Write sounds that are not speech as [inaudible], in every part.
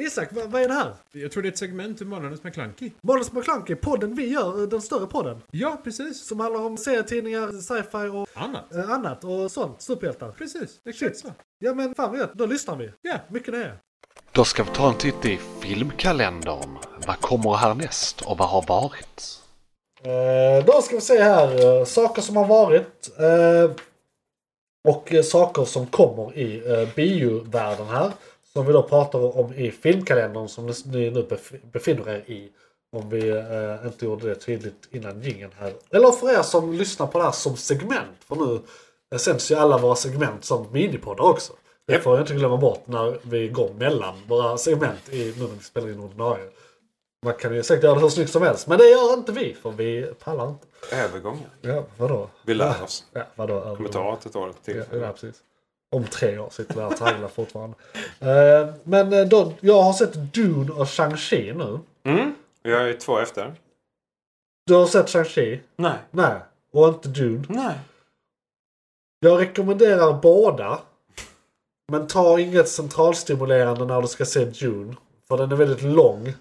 Isak, vad, vad är det här? Jag tror det är ett segment ur Månadens McKlunky. Månadens McKlunky, podden vi gör, eh, den större podden. Ja, precis. Som handlar om serietidningar, sci-fi och Annat. eh, annat och sånt. Superhjältar. Precis, exakt så. Ja men fan vad gött, då lyssnar vi. Ja. Mycket nöje. Då ska vi ta en titt i filmkalendern. Vad kommer härnäst och vad har varit? Eh, då ska vi se här. eh, Saker som har varit. Eh, och eh, saker som kommer i eh, biovärlden här. Som vi då pratar om i filmkalendern som ni- ni nu bef- befinner er i. Om vi eh, inte gjorde det tydligt innan jingeln här. Eller för er som lyssnar på det här som segment. För nu eh, sänds ju alla våra segment som minipoddar också. Det får jag inte glömma bort när vi går mellan våra segment i, nu när vi spelar in ordinarie. Man kan ju säkert göra det så snyggt som helst. Men det gör inte vi för vi pallar inte. Övergångar. Ja, vadå? Vi lär oss. Ja, vadå? kommer ta ett år till. Ja, ja, precis. Om tre år sitter vi här och tragglar [laughs] fortfarande. Eh, men eh, då, jag har sett Dune och Shang-Chi nu. Mm. Jag är två efter. Du har sett Shang-Chi? Nej. Nej. Och inte Dune. Nej. Jag rekommenderar båda. Men ta inget centralstimulerande när du ska se Dune. För den är väldigt lång.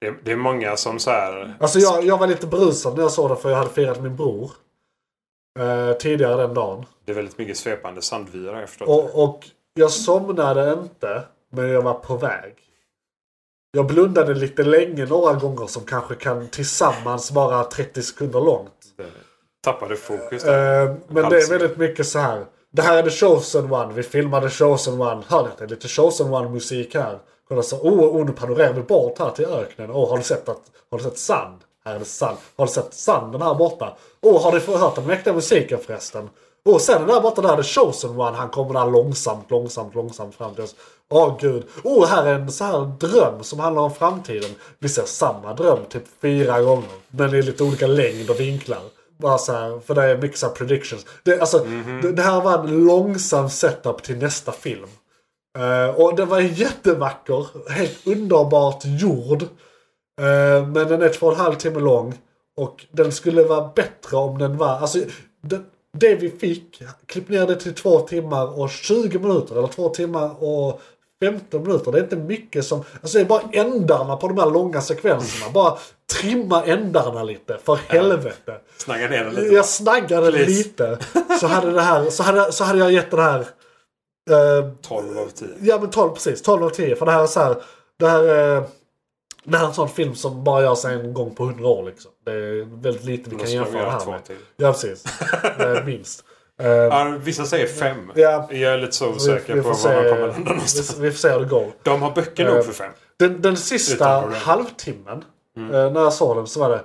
Det är, det är många som så här... Alltså jag, jag var lite brusad när jag såg den för jag hade firat min bror. eh, tidigare den dagen. Det är väldigt mycket svepande sandvyra efter Och, och jag somnade inte, men jag var på väg. Jag blundade lite länge några gånger som kanske kan tillsammans vara 30 sekunder långt. det. Tappade fokus där. Eh, men det är Halsen. väldigt mycket så här. Det här är The Chosen One. Vi filmade Chosen One. Hör ni att det är lite Chosen One-musik här? Kolla så. Oh, oh, nu panorerar vi bort här till öknen. Åh, oh, har du sett att... Har du sett sand? Här är det sand. Har du sett sanden här borta? Åh, oh, har du hört den mäktiga musiken förresten? Och sen där borta där, The Chosen One, han kommer där långsamt, långsamt, långsamt fram till oss. Åh gud. Oh, här är en så här dröm som handlar om framtiden. Vi ser samma dröm typ fyra gånger. Men i lite olika längd och vinklar. Bara så här, för det är mycket så här predictions. Det, alltså, det, det här var en långsam setup till nästa film. Eh, och den var jättevacker. Helt underbart gjord. Eh, men den är två och en halv timme lång. Och den skulle vara bättre om den var... Alltså, det, det vi fick, klipp ner det till två timmar och 20 minuter. Eller två timmar och 15 minuter. Det är inte mycket som... Alltså det är bara ändarna på de här långa sekvenserna. Bara trimma ändarna lite, för helvete. Snagga ner den lite. Jag snaggade Please. lite. Så hade, det här, så, hade, så hade jag gett den här... eh, 12 av 10. ja men 12 precis, 12 av 10. För det här är så här... Det här, eh, det här är en sån film som bara görs en gång på 100 år liksom. Det är väldigt lite vi Då kan skulle vi jämföra det göra här två med. till. Ja precis. [laughs] Eh, minst. Eh, Ja, vissa säger fem. Ja. Jag är lite så vi- osäker vi på får se- Eh. var man kommer [laughs] landa någonstans. Vi, vi får se hur det går. De har böcker nog för fem. Den, den sista Utan problem. Mm. halvtimmen eh, när jag såg den så var det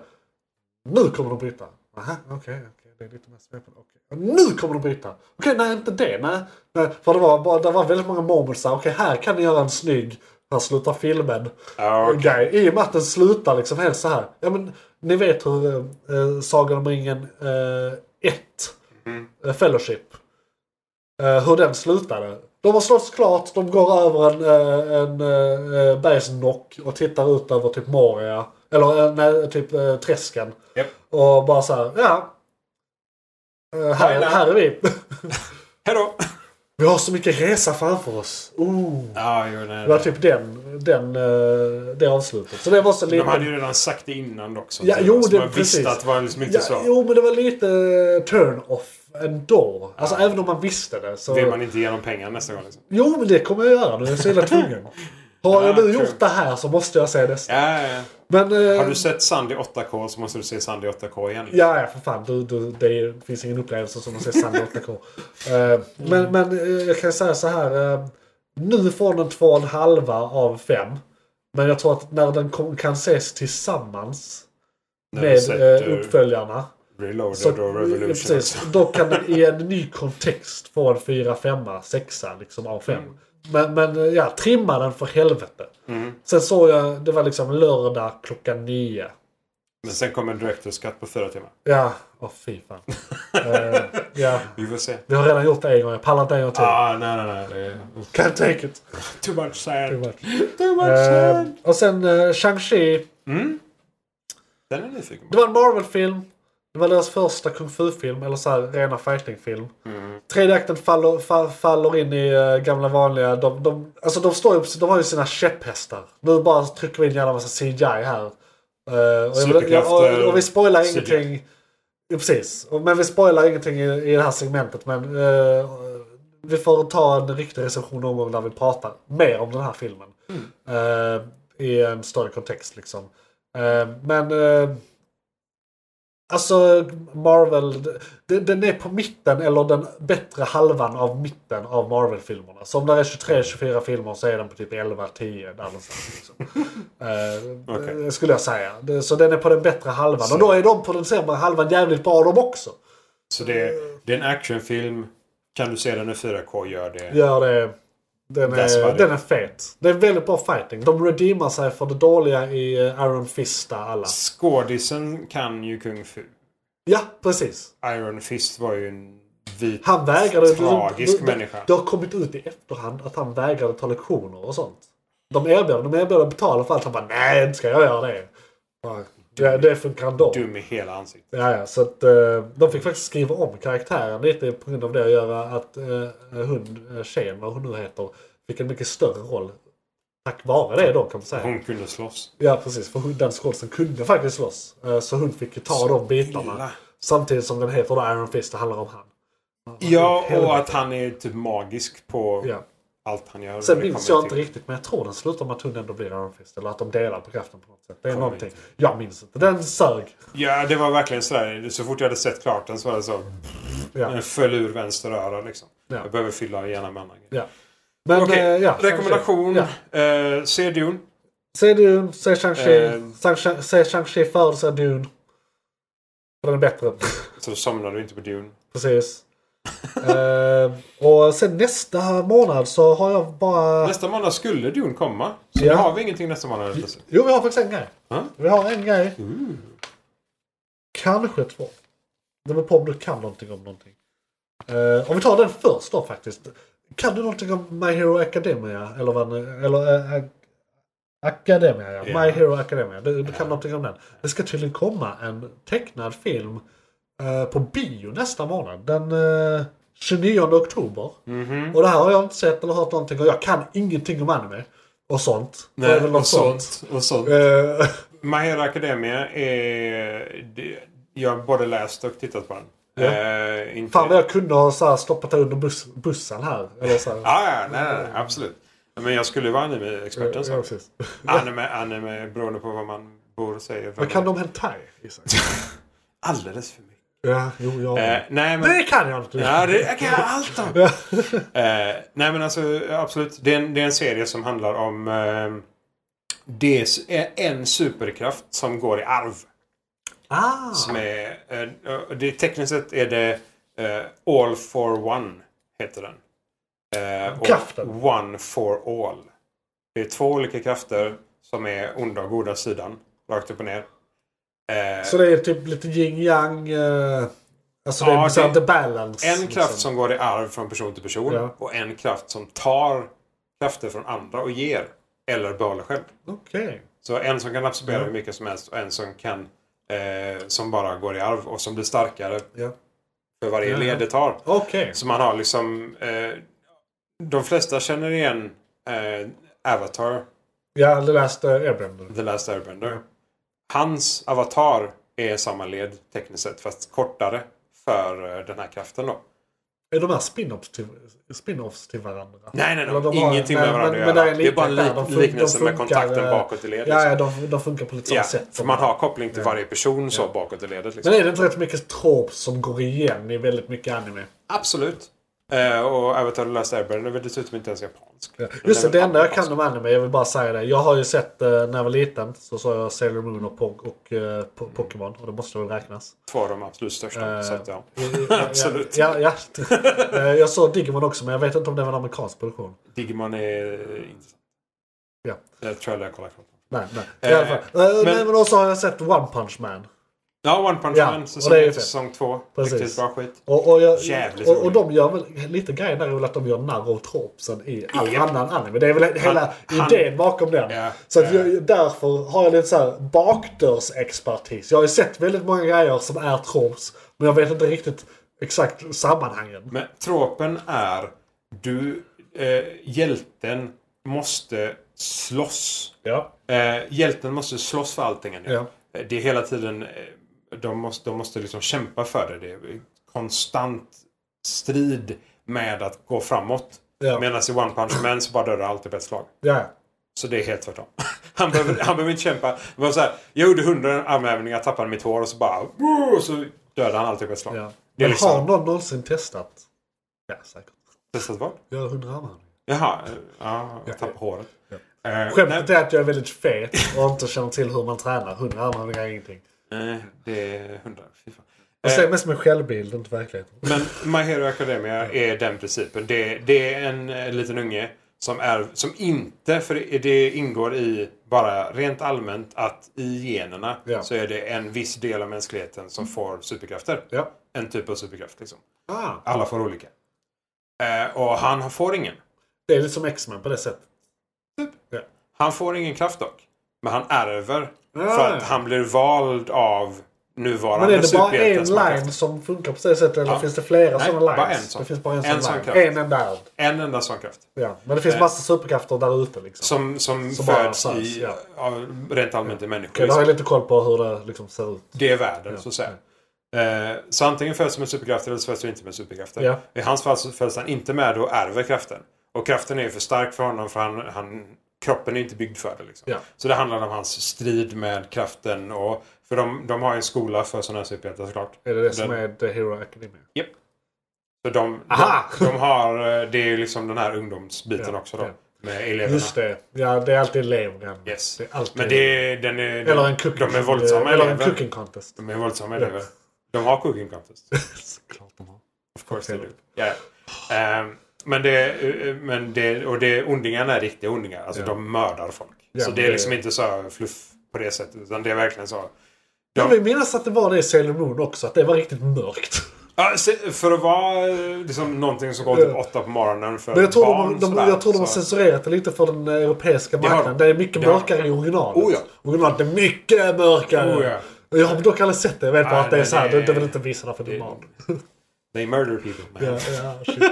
Nu kommer de bryta. Aha, okej, okej, det är lite mer svepande. Okej. Nu kommer de bryta! Okej, nej inte det. Nej, nej. För det var, bara, det var väldigt många moments där. Okej, här kan ni göra en snygg. Här slutar filmen. Ja, okej. Grej. I och med att den slutar liksom helt så här. Ja, men, ni vet hur eh, eh, Sagan om ringen 1, Mhm. eh, Fellowship, eh, hur den slutade. De har slått klart, de går över en, eh, en eh, bergsnock och tittar ut över typ Moria. Eller eh, nej, typ eh, träsken. Japp. Och bara så här, ja. Eh, här, Hej då. här är vi. [laughs] Hejdå! vi har så mycket resa framför oss. Oh. Ja, jo, nej, Det var nej. typ den, den, eh, det avslutet. Så det var så lite... De hade ju redan sagt det innan också. Ja, jo, Så det- man precis. visste att det var liksom inte Ja, så. jo, men det var lite turn-off ändå. Alltså även om man visste det så... Vill man inte ge dem pengar nästa gång liksom. Jo, men det kommer jag göra nu. Jag är så himla [laughs] tvungen. Har jag Ja, nu true. gjort det här så måste jag säga nästa. Ja, ja, Men... eh, ja. Har du sett Sand i 8K så måste du se Sand i 8K igen. Ja, ja, för fan. Du, du, det är- finns ingen upplevelse som att se Sandra 8K. Eh, Mm. men, men eh, jag kan säga så här. eh, nu får den två och en halva av fem. Men jag tror att när den kom, kan ses tillsammans När med du sett, eh, eh, uppföljarna. Reloaded Så, och Revolution. precis, då kan den i en ny kontext få en 4, 5, 6 liksom av 5. Men, men ja, trimma den för helvete. Sen såg jag, det var liksom lördag klockan 9. Men sen kommer en director's cut på fyra timmar. Ja, åh fy [laughs] fan. Eh, ja, Vi får se. vi har redan gjort det en gång, jag pallar inte en gång till. Ah, nej, nej, nej. Det är... Can't take it. Too much sand. Too [laughs] Too much Mm. Eh, sand. och sen eh, Shang-Chi. Den är jag nyfiken Det på. var en Marvel-film. Det var deras första kung fu-film, eller så här, rena fighting-film. Tredje akten faller, fa- faller in i eh, gamla vanliga... De, de, alltså de, står ju, på- de har ju sina käpphästar. Nu bara trycker vi in jävla massa CGI här. Eh, och, jag, jag, Superkrafter och, och vi spoilar CGI. ingenting. Ja, precis. Och- Men vi spoilar ingenting i, i det här segmentet. Men eh, vi får ta en riktig recension om det när vi pratar mer om den här filmen. Eh, I en större kontext liksom. Eh, men... eh, Alltså Marvel, den, den är på mitten eller den bättre halvan av mitten av Marvel-filmerna. Så om det är Mm. 23-24 filmer så är den på typ 11-10 där någonstans. Liksom. [laughs] Eh, Okej. eh, Skulle jag säga. Det- Så den är på den bättre halvan. Och då är de på den sämre halvan jävligt bra de också. Så det är, det är en actionfilm. Kan du se den i 4K, gör det. Gör det. Den That's är, about den it. är fet. Det är väldigt bra fighting. De redeemar sig för det dåliga i eh, Iron Fist där alla. Skådisen kan ju kung fu. Ja, precis. Iron Fist var ju en vit... Han vägrade... Tragisk det, människa. Det har kommit ut i efterhand att han vägrade ta lektioner och sånt. De erbjöd, de erbjöd att betala för allt. Han bara nej, inte ska jag göra det. Ja, det- det funkar ändå. Dum i hela ansiktet. Ja, ja, så att eh, de fick faktiskt skriva om karaktären lite på grund av det och göra att eh, hon, eh, tjejen, vad hon nu heter, fick en mycket större roll. Tack vare det då kan man säga. Hon kunde slåss. Ja precis, för hon- den skådisen kunde faktiskt slåss. Eh, Så hon fick ju ta de bitarna. illa. Samtidigt som den heter då Iron Fist, det handlar om han. Ja, helvete. och att han är typ magisk på Ja. allt han gör. Sen Det minns kommer jag inte till. riktigt, men jag tror den slutar med att hon ändå blir Iron Fist. Eller att de delar på kraften på något sätt. Det är Kommer någonting. inte. Jag minns inte. Den sög. Ja, det var verkligen sådär. Så fort jag hade sett klart den så var det så. Ja. Den föll ur vänster öra liksom. Ja. Jag behöver fylla gärna med annan grej. ja. Men, Okej, eh, ja, rekommendation. Ja. Eh, se Dune. Se Dune, se Shang-Chi. Eh. Shang- Se Shang-Chi före se Dune. För den är bättre. [laughs] Så somnar du inte på Dune. Precis. Eh, och sen nästa månad så har jag bara... Nästa måndag skulle Dune komma. Så Ja. nu har vi ingenting nästa månad. helt plötsligt. Jo, vi har faktiskt en grej. Ja. Mm. Vi har en grej. Ooh. Kanske två. Det beror på om du kan någonting om någonting. Eh, om vi tar den först då faktiskt. Kan du någonting om My Hero Academia? Eller vad den- Eller eh, Ac- Academia, ja. Ja. My Hero Academia. Du, du kan någonting om den. Det ska tydligen komma en tecknad film eh, på bio nästa månad. Den eh, 29 oktober. Mhm. Och det här har jag inte sett eller hört någonting och jag kan ingenting om anime. Och sånt. Det är väl något och sånt. Och sånt. Eh, [laughs] My Hero Academia är... det- Jag har både läst och tittat på den. Eh, inte... Fan vad jag kunde ha så här stoppat under bus- bussen här. Eller så här. Ja, ja, nej, nej, nej, absolut. Men jag skulle ju vara anime-experten. Ja, så. precis. Anime, anime, beroende på vad man bor och säger. Men kan de hentai? Isak? [laughs] Alldeles för mycket. ja, jo, ja. Eh, nej, men... det kan jag inte. Ja, det jag kan jag allt om. eh, nej, men alltså absolut. Det är en, det är en serie som handlar om... Eh, det är s- är en superkraft som går i arv. [laughs] Ah, Som är, eh, och det, tekniskt sett är det eh, All for One. Heter den. Eh, och Kraften. One for All. Det är två olika krafter som är onda och goda sidan. Rakt upp och ner. Eh, så det är typ lite yin yang. Eh, alltså det Ja, är det- så här the balance. En kraft liksom. som går i arv från person till person Ja. och en kraft som tar krafter från andra och ger. Eller behåller själv. Okej. Så en som kan absorbera hur mycket som helst och en som kan eh, som bara går i arv och som blir starkare Ja. för varje Ja. led det tar. Okej. Så man har liksom... Eh, de flesta känner igen eh, Avatar, Ja, det läste Airbender. The Last Airbender. Hans avatar är samma led tekniskt sett fast kortare för eh, den här kraften då. Är de här spin-offs till, spin-offs till varandra? Nej, nej, Eller nej. de har- Ingenting nej, med varandra men- att men göra. det är en det är bara liknelse där. De en lik- fun- de liknelse funkar, med kontakten eh, bakåt i ledet. Ja, liksom. ja de, de funkar på lite Ja, sådant sätt. för man har koppling till varje person så bakåt i ledet. Liksom. Men är det inte rätt mycket trop som går igen i väldigt mycket anime? Absolut. Eh, och Avatar The Last Airbender är väl dessutom inte ens japansk. Ja. Den Just är det, väl det enda jag amerikansk. kan om anime, jag vill bara säga det. Jag har ju sett eh, när jag var liten så såg jag Sailor Moon och, po- och eh, po- Pokémon och det måste väl räknas. Två av de absolut största. Eh, så att, ja. [laughs] [laughs] Absolut. Ja, ja, [laughs] Eh, jag såg Digimon också men jag vet inte om det var en amerikansk produktion. Digimon är eh, inte... Ja. Jag tror jag kollar klart. Nej, nej. I alla fall. Eh, men- nej men också har jag sett One Punch Man. Ja, One Punch Ja, Man. och Säsong det är 1, fett. säsong 2. Precis. Riktigt bra skit. Och, och, jag, Jävligt och, och roligt. de gör väl lite grejen där är väl att de gör narr av tropsen i all Japp. annan anime. Det är väl hela han- idén bakom den. Ja, så att ja. jag, därför har jag lite så här bakdörrsexpertis. Jag har ju sett väldigt många grejer som är trops. Men jag vet inte riktigt exakt sammanhangen. Men tropen är du, eh, hjälten måste slåss. Ja. Eh, hjälten måste slåss för allting han gör. Ja. Eh, Det är hela tiden, eh, de måste, de måste liksom kämpa för det. Det är konstant strid med att gå framåt. Ja. Medan i One Punch Man så bara dör alltid på ett slag. Ja. Så det är helt tvärtom. [laughs] Han behöver, han behöver inte kämpa. Det var så här, jag gjorde hundra armhävningar, tappade mitt hår och så bara... Och så dödade han alltid på ett slag. ja. Det är Men liksom... har någon någonsin testat? Ja, säkert. Testat vad? Göra hundra armhävningar. Jaha, eh, ja, jag tappade håret. Eh, Skämtet är att jag är väldigt fet och inte känner till hur man tränar. Hundra armhävningar är ingenting. nej, eh, det är hundra. Fy fan. Jag Eh. ser mest min självbild, inte verkligheten. Men My Hero Academia är den principen. Det, det är en eh, liten unge som, är, som inte, för det- det ingår i bara rent allmänt att i generna Ja. så är det en viss del av mänskligheten som får superkrafter. Ja. En typ av superkraft liksom. Ah. Alla får olika. Eh, och han får ingen. Det är lite som X-Men på det sättet. Han får ingen kraft dock. Men han ärver. Ja. För att han blir vald av nuvarande Men är det bara superhjälten en som har line kraft. som funkar på det sättet? Eller Ja. finns det flera Nej, sådana bara lines? en sån. Det finns bara en, En sån sån line. kraft. En enda eld. En enda sån kraft. Ja. Men det finns Eh. massa superkrafter där ute liksom. Som, som, Som bara föds fanns, i, ja. av rent allmänt i människor. Okej, då har jag lite koll på hur det liksom ser ut. Det är världen, så att säga. Eh, Så antingen föds du med superkrafter eller så föds du inte med superkrafter. Ja. I hans fall så föds han inte med det och ärver kraften. Och kraften är ju för stark för honom för han, han, kroppen är inte byggd för det. Liksom. Ja. Så det handlar om hans strid med kraften. Och, för de, de har ju en skola för sådana här superhjältar såklart. Är det det som Den- är The Hero Academia? Japp. Så de, Aha! de, de har, eh, det är ju liksom den här ungdomsbiten Ja, också då. ja. Med eleverna. Just det. Ja, det är alltid eleven. Yes. Det är alltid... Men det är, den är, Eller en cooking... de är våldsamma Eller en elever. cooking contest. De är våldsamma elever. De har cooking contest. Såklart de har. Of course they do. Ja. Ehm, men det, eh, men det, och det, ondingarna är riktiga ondingar. Alltså Ja. de mördar folk. Ja, så men det är det- liksom inte så här fluff på det sättet. Utan det är verkligen så. Jag vill minnas att det var det i Sailor Moon också. Att det var riktigt mörkt. Ja, se- för att vara eh, liksom, någonting som går typ Ja. åtta på morgonen för Men jag tror, barn. de, de, sådär, jag tror de har så- censurerat det lite för den europeiska har marknaden. de. Det är mycket Det har mörkare i originalet. Oh ja. Originalet är mycket mörkare. Oh ja. Jag har dock aldrig sett det. Jag vet bara Nej, att det är men såhär. det- Du, du vill inte visa det för din det- barn. [laughs] They murder people. Man. Ja, ja, shit.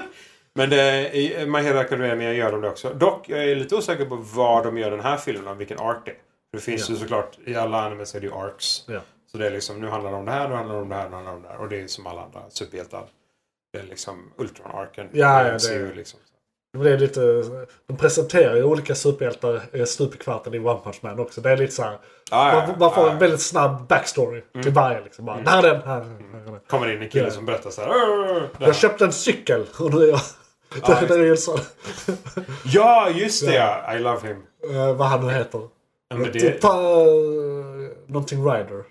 Men det, i My Hero Academia gör de det också. Dock, jag är lite osäker på vad de gör den här filmen om. Vilken ark det är. För det finns ju såklart, i alla animes är det ju arcs. ja. Så det är liksom, nu handlar det om det här, nu handlar det om det här, nu handlar det om det här. Och det är som alla andra superhjältar. Det är liksom Ultron-arken. Ja, ja, MCU det- liksom. Men det är lite, de presenterar ju olika superhjältar eh, stup i kvarten i One Punch Man också. Det är lite såhär. Ja, ja, Man, man får ja, Mm. en ja. väldigt snabb backstory till varje. Liksom. Bara, Där är den, här, här är den. Kommer in en kille Ja. som berättar så här. "Åh, det här." Jag köpte en cykel [laughs] och nu är jag... Ja, det är ju så. Ja, just det ja. I love him. Eh, vad han nu heter. Ja, Men Typ, det, ta, eh, någonting Rider.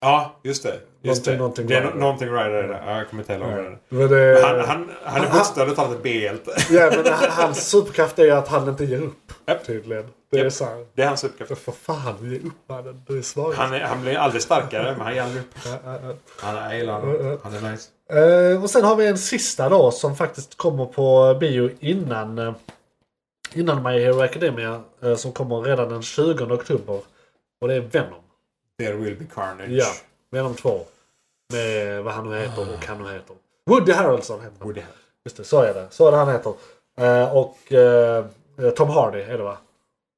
ja just det. Just det. Någonting- det är någonting no- någonting right där. Ja, jag kommer inte ihåg vad det är. Men det, Han, han, han är bostad av ett B-hjälte. ja, men han- hans superkraft är ju att han inte ger upp. Japp. Tydligen. Det är Japp. så här. Det är hans superkraft. För fan, ge upp mannen. Du är svag. Han, är, han blir aldrig starkare, men han ger aldrig upp. Ja, ja, ja. Han är gillar Han är nice. Eh, och sen har vi en sista då som faktiskt kommer på bio innan, eh, innan My Hero Academia. eh, Som kommer redan den 20 oktober. Och det är Venom. There will be carnage. Ja, Venom 2. Med vad han nu heter och han nu heter. Woody Harrelson heter han. Och det här. Just det, så är det. Så är det han heter. Eh, och eh, Tom Hardy är det va?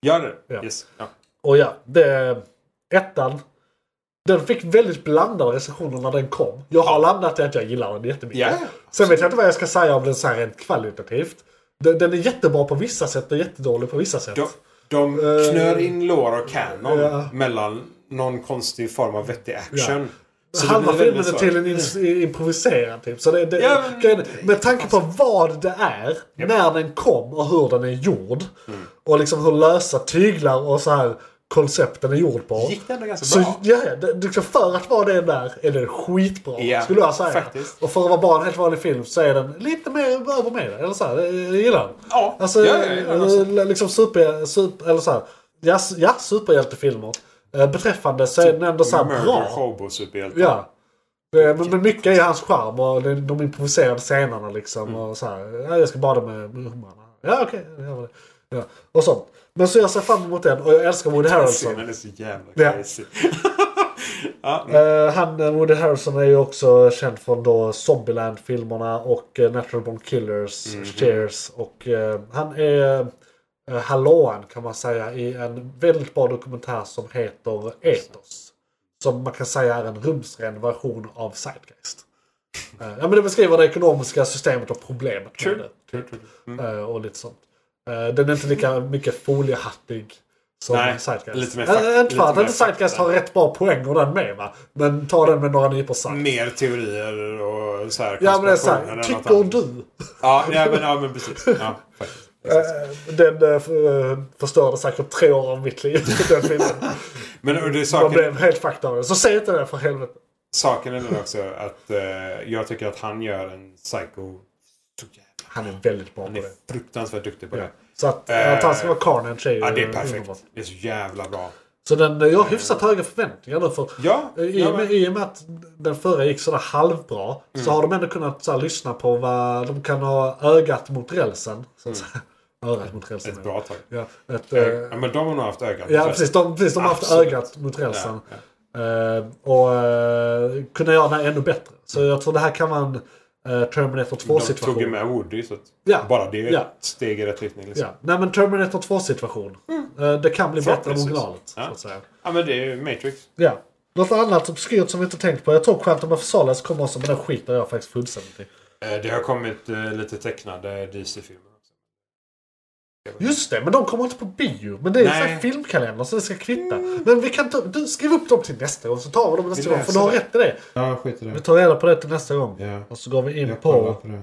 Gör det? Ja. Yes. Ja. Och ja, det, ettan. Den fick väldigt blandade recensioner när den kom. Jag har landat i att jag gillar den jättemycket. Ja, Sen vet jag inte vad jag ska säga om den så här rent kvalitativt. Den, den är jättebra på vissa sätt och jättedålig på vissa sätt. De, de Eh, knör in lår och canon ja. mellan någon konstig form av vettig action. Så det Halva blir väldigt filmen är svårt. till en ins- improviserad typ. Så det, det, Ja, men- alltså- grejen- med tanke på vad det är, när den kom och hur den är gjord. Mm. Och liksom hur lösa tyglar och så här koncepten är gjord på. Gick det ändå ganska Så bra? ja, ja, det, liksom för att vara det där är den skitbra. Ja, skulle jag säga. faktiskt. Och för att vara bara en helt vanlig film så är den lite mer över med det, Eller så här, jag gillar den. Ja, Alltså, ja, ja, ja, alltså. eh, liksom super, super, eller så här, ja, s- ja, superhjältefilmer. Eh, beträffande så är den ändå så här Typ Murder bra. Hobo superhjälte. Ja. Det, men, men mycket är hans charm och det- de improviserade scenerna liksom. Och så här, ja, jag ska bada med med humrarna. Ja okej, det gör vi det. Ja, och sånt. Men så jag ser fram emot den och jag älskar Woody Harrelson. Scenen är så jävla alltså. Ja. crazy. [laughs] ja, Eh, han, eh, Woody Harrelson är ju också känd från då Zombieland-filmerna och eh, Natural Born Killers, Mhm. Cheers. Och eh, han är eh, hallåan kan man säga i en väldigt bra dokumentär som heter Ethos. Som man kan säga är en rumsren version av Zeitgeist. Eh, ja men det beskriver det ekonomiska systemet och problemet med Sure. det. Mm. Eh, och lite sånt. Eh, den är inte lika mycket foliehattig som Nej, Zeitgeist. lite mer Eh, fak- inte för lite att mer inte Zeitgeist fakta. har rätt bra poänger den med va. Men ta den med några nypor salt. mer teorier och så här Ja men det är konspirationer såhär, än något tycker annat. du? Ja, ja, men, ja men precis. Ja, faktiskt. Eh, Den eh, f- eh, förstörde säkert tre år av mitt liv. [laughs] Den filmen. Men och det är Man saken, blev helt fucked av den. Så säg inte det för helvete. saken är den också att eh, jag tycker att han gör en psycho... Så jävla- Han är väldigt bra på Han är det. fruktansvärt duktig på Ja. det. Så att, Eh, att han ska vara Carnage är ju Ja, det är eh, perfekt. underbart. Det är så jävla bra. Så den, eh, jag har hyfsat höga förväntningar nu. För Ja, Eh, I, och ja, med, men, Mm. I och med att den förra gick sådär halvbra så har de ändå kunnat så här, lyssna på vad de kan ha ögat mot rälsen. Så att säga. [laughs] Örat mot rälsen. Mm. ett bra tag. Ja, ett, eh, Ja, men de har nog haft ögat. Alltså, ja precis. De, precis, de har haft Absolut. ögat mot rälsen. Ja, Eh, och eh, kunna göra det ännu bättre. Så jag tror det här kan vara en eh, Terminator De tog ju 2-situation. med Woody så att Ja. bara det är Ja. ett steg i rätt riktning. Liksom. Ja. Nej men Terminator 2-situation. Eh, det kan bli bättre än Förhoppningsvis. originalet. Ja. Så att säga. Ja. men det är ju Matrix. Ja. Något annat obskyrt som vi inte tänkt på. Jag tror Quantum of Solace kommer också men den skiter jag faktiskt fullständigt i. Eh, Det har kommit eh, lite tecknade DC-filmer också. Just det, men de kommer inte på bio. Men det är ju Nej. så här filmkalender så det ska kvitta. Men vi kan ta, du, skriv upp dem till nästa gång så tar vi dem nästa Vi gång. För du läser har det. rätt i det. Ja, skit i Vi tar reda på det till nästa gång. Och så går vi in på... det.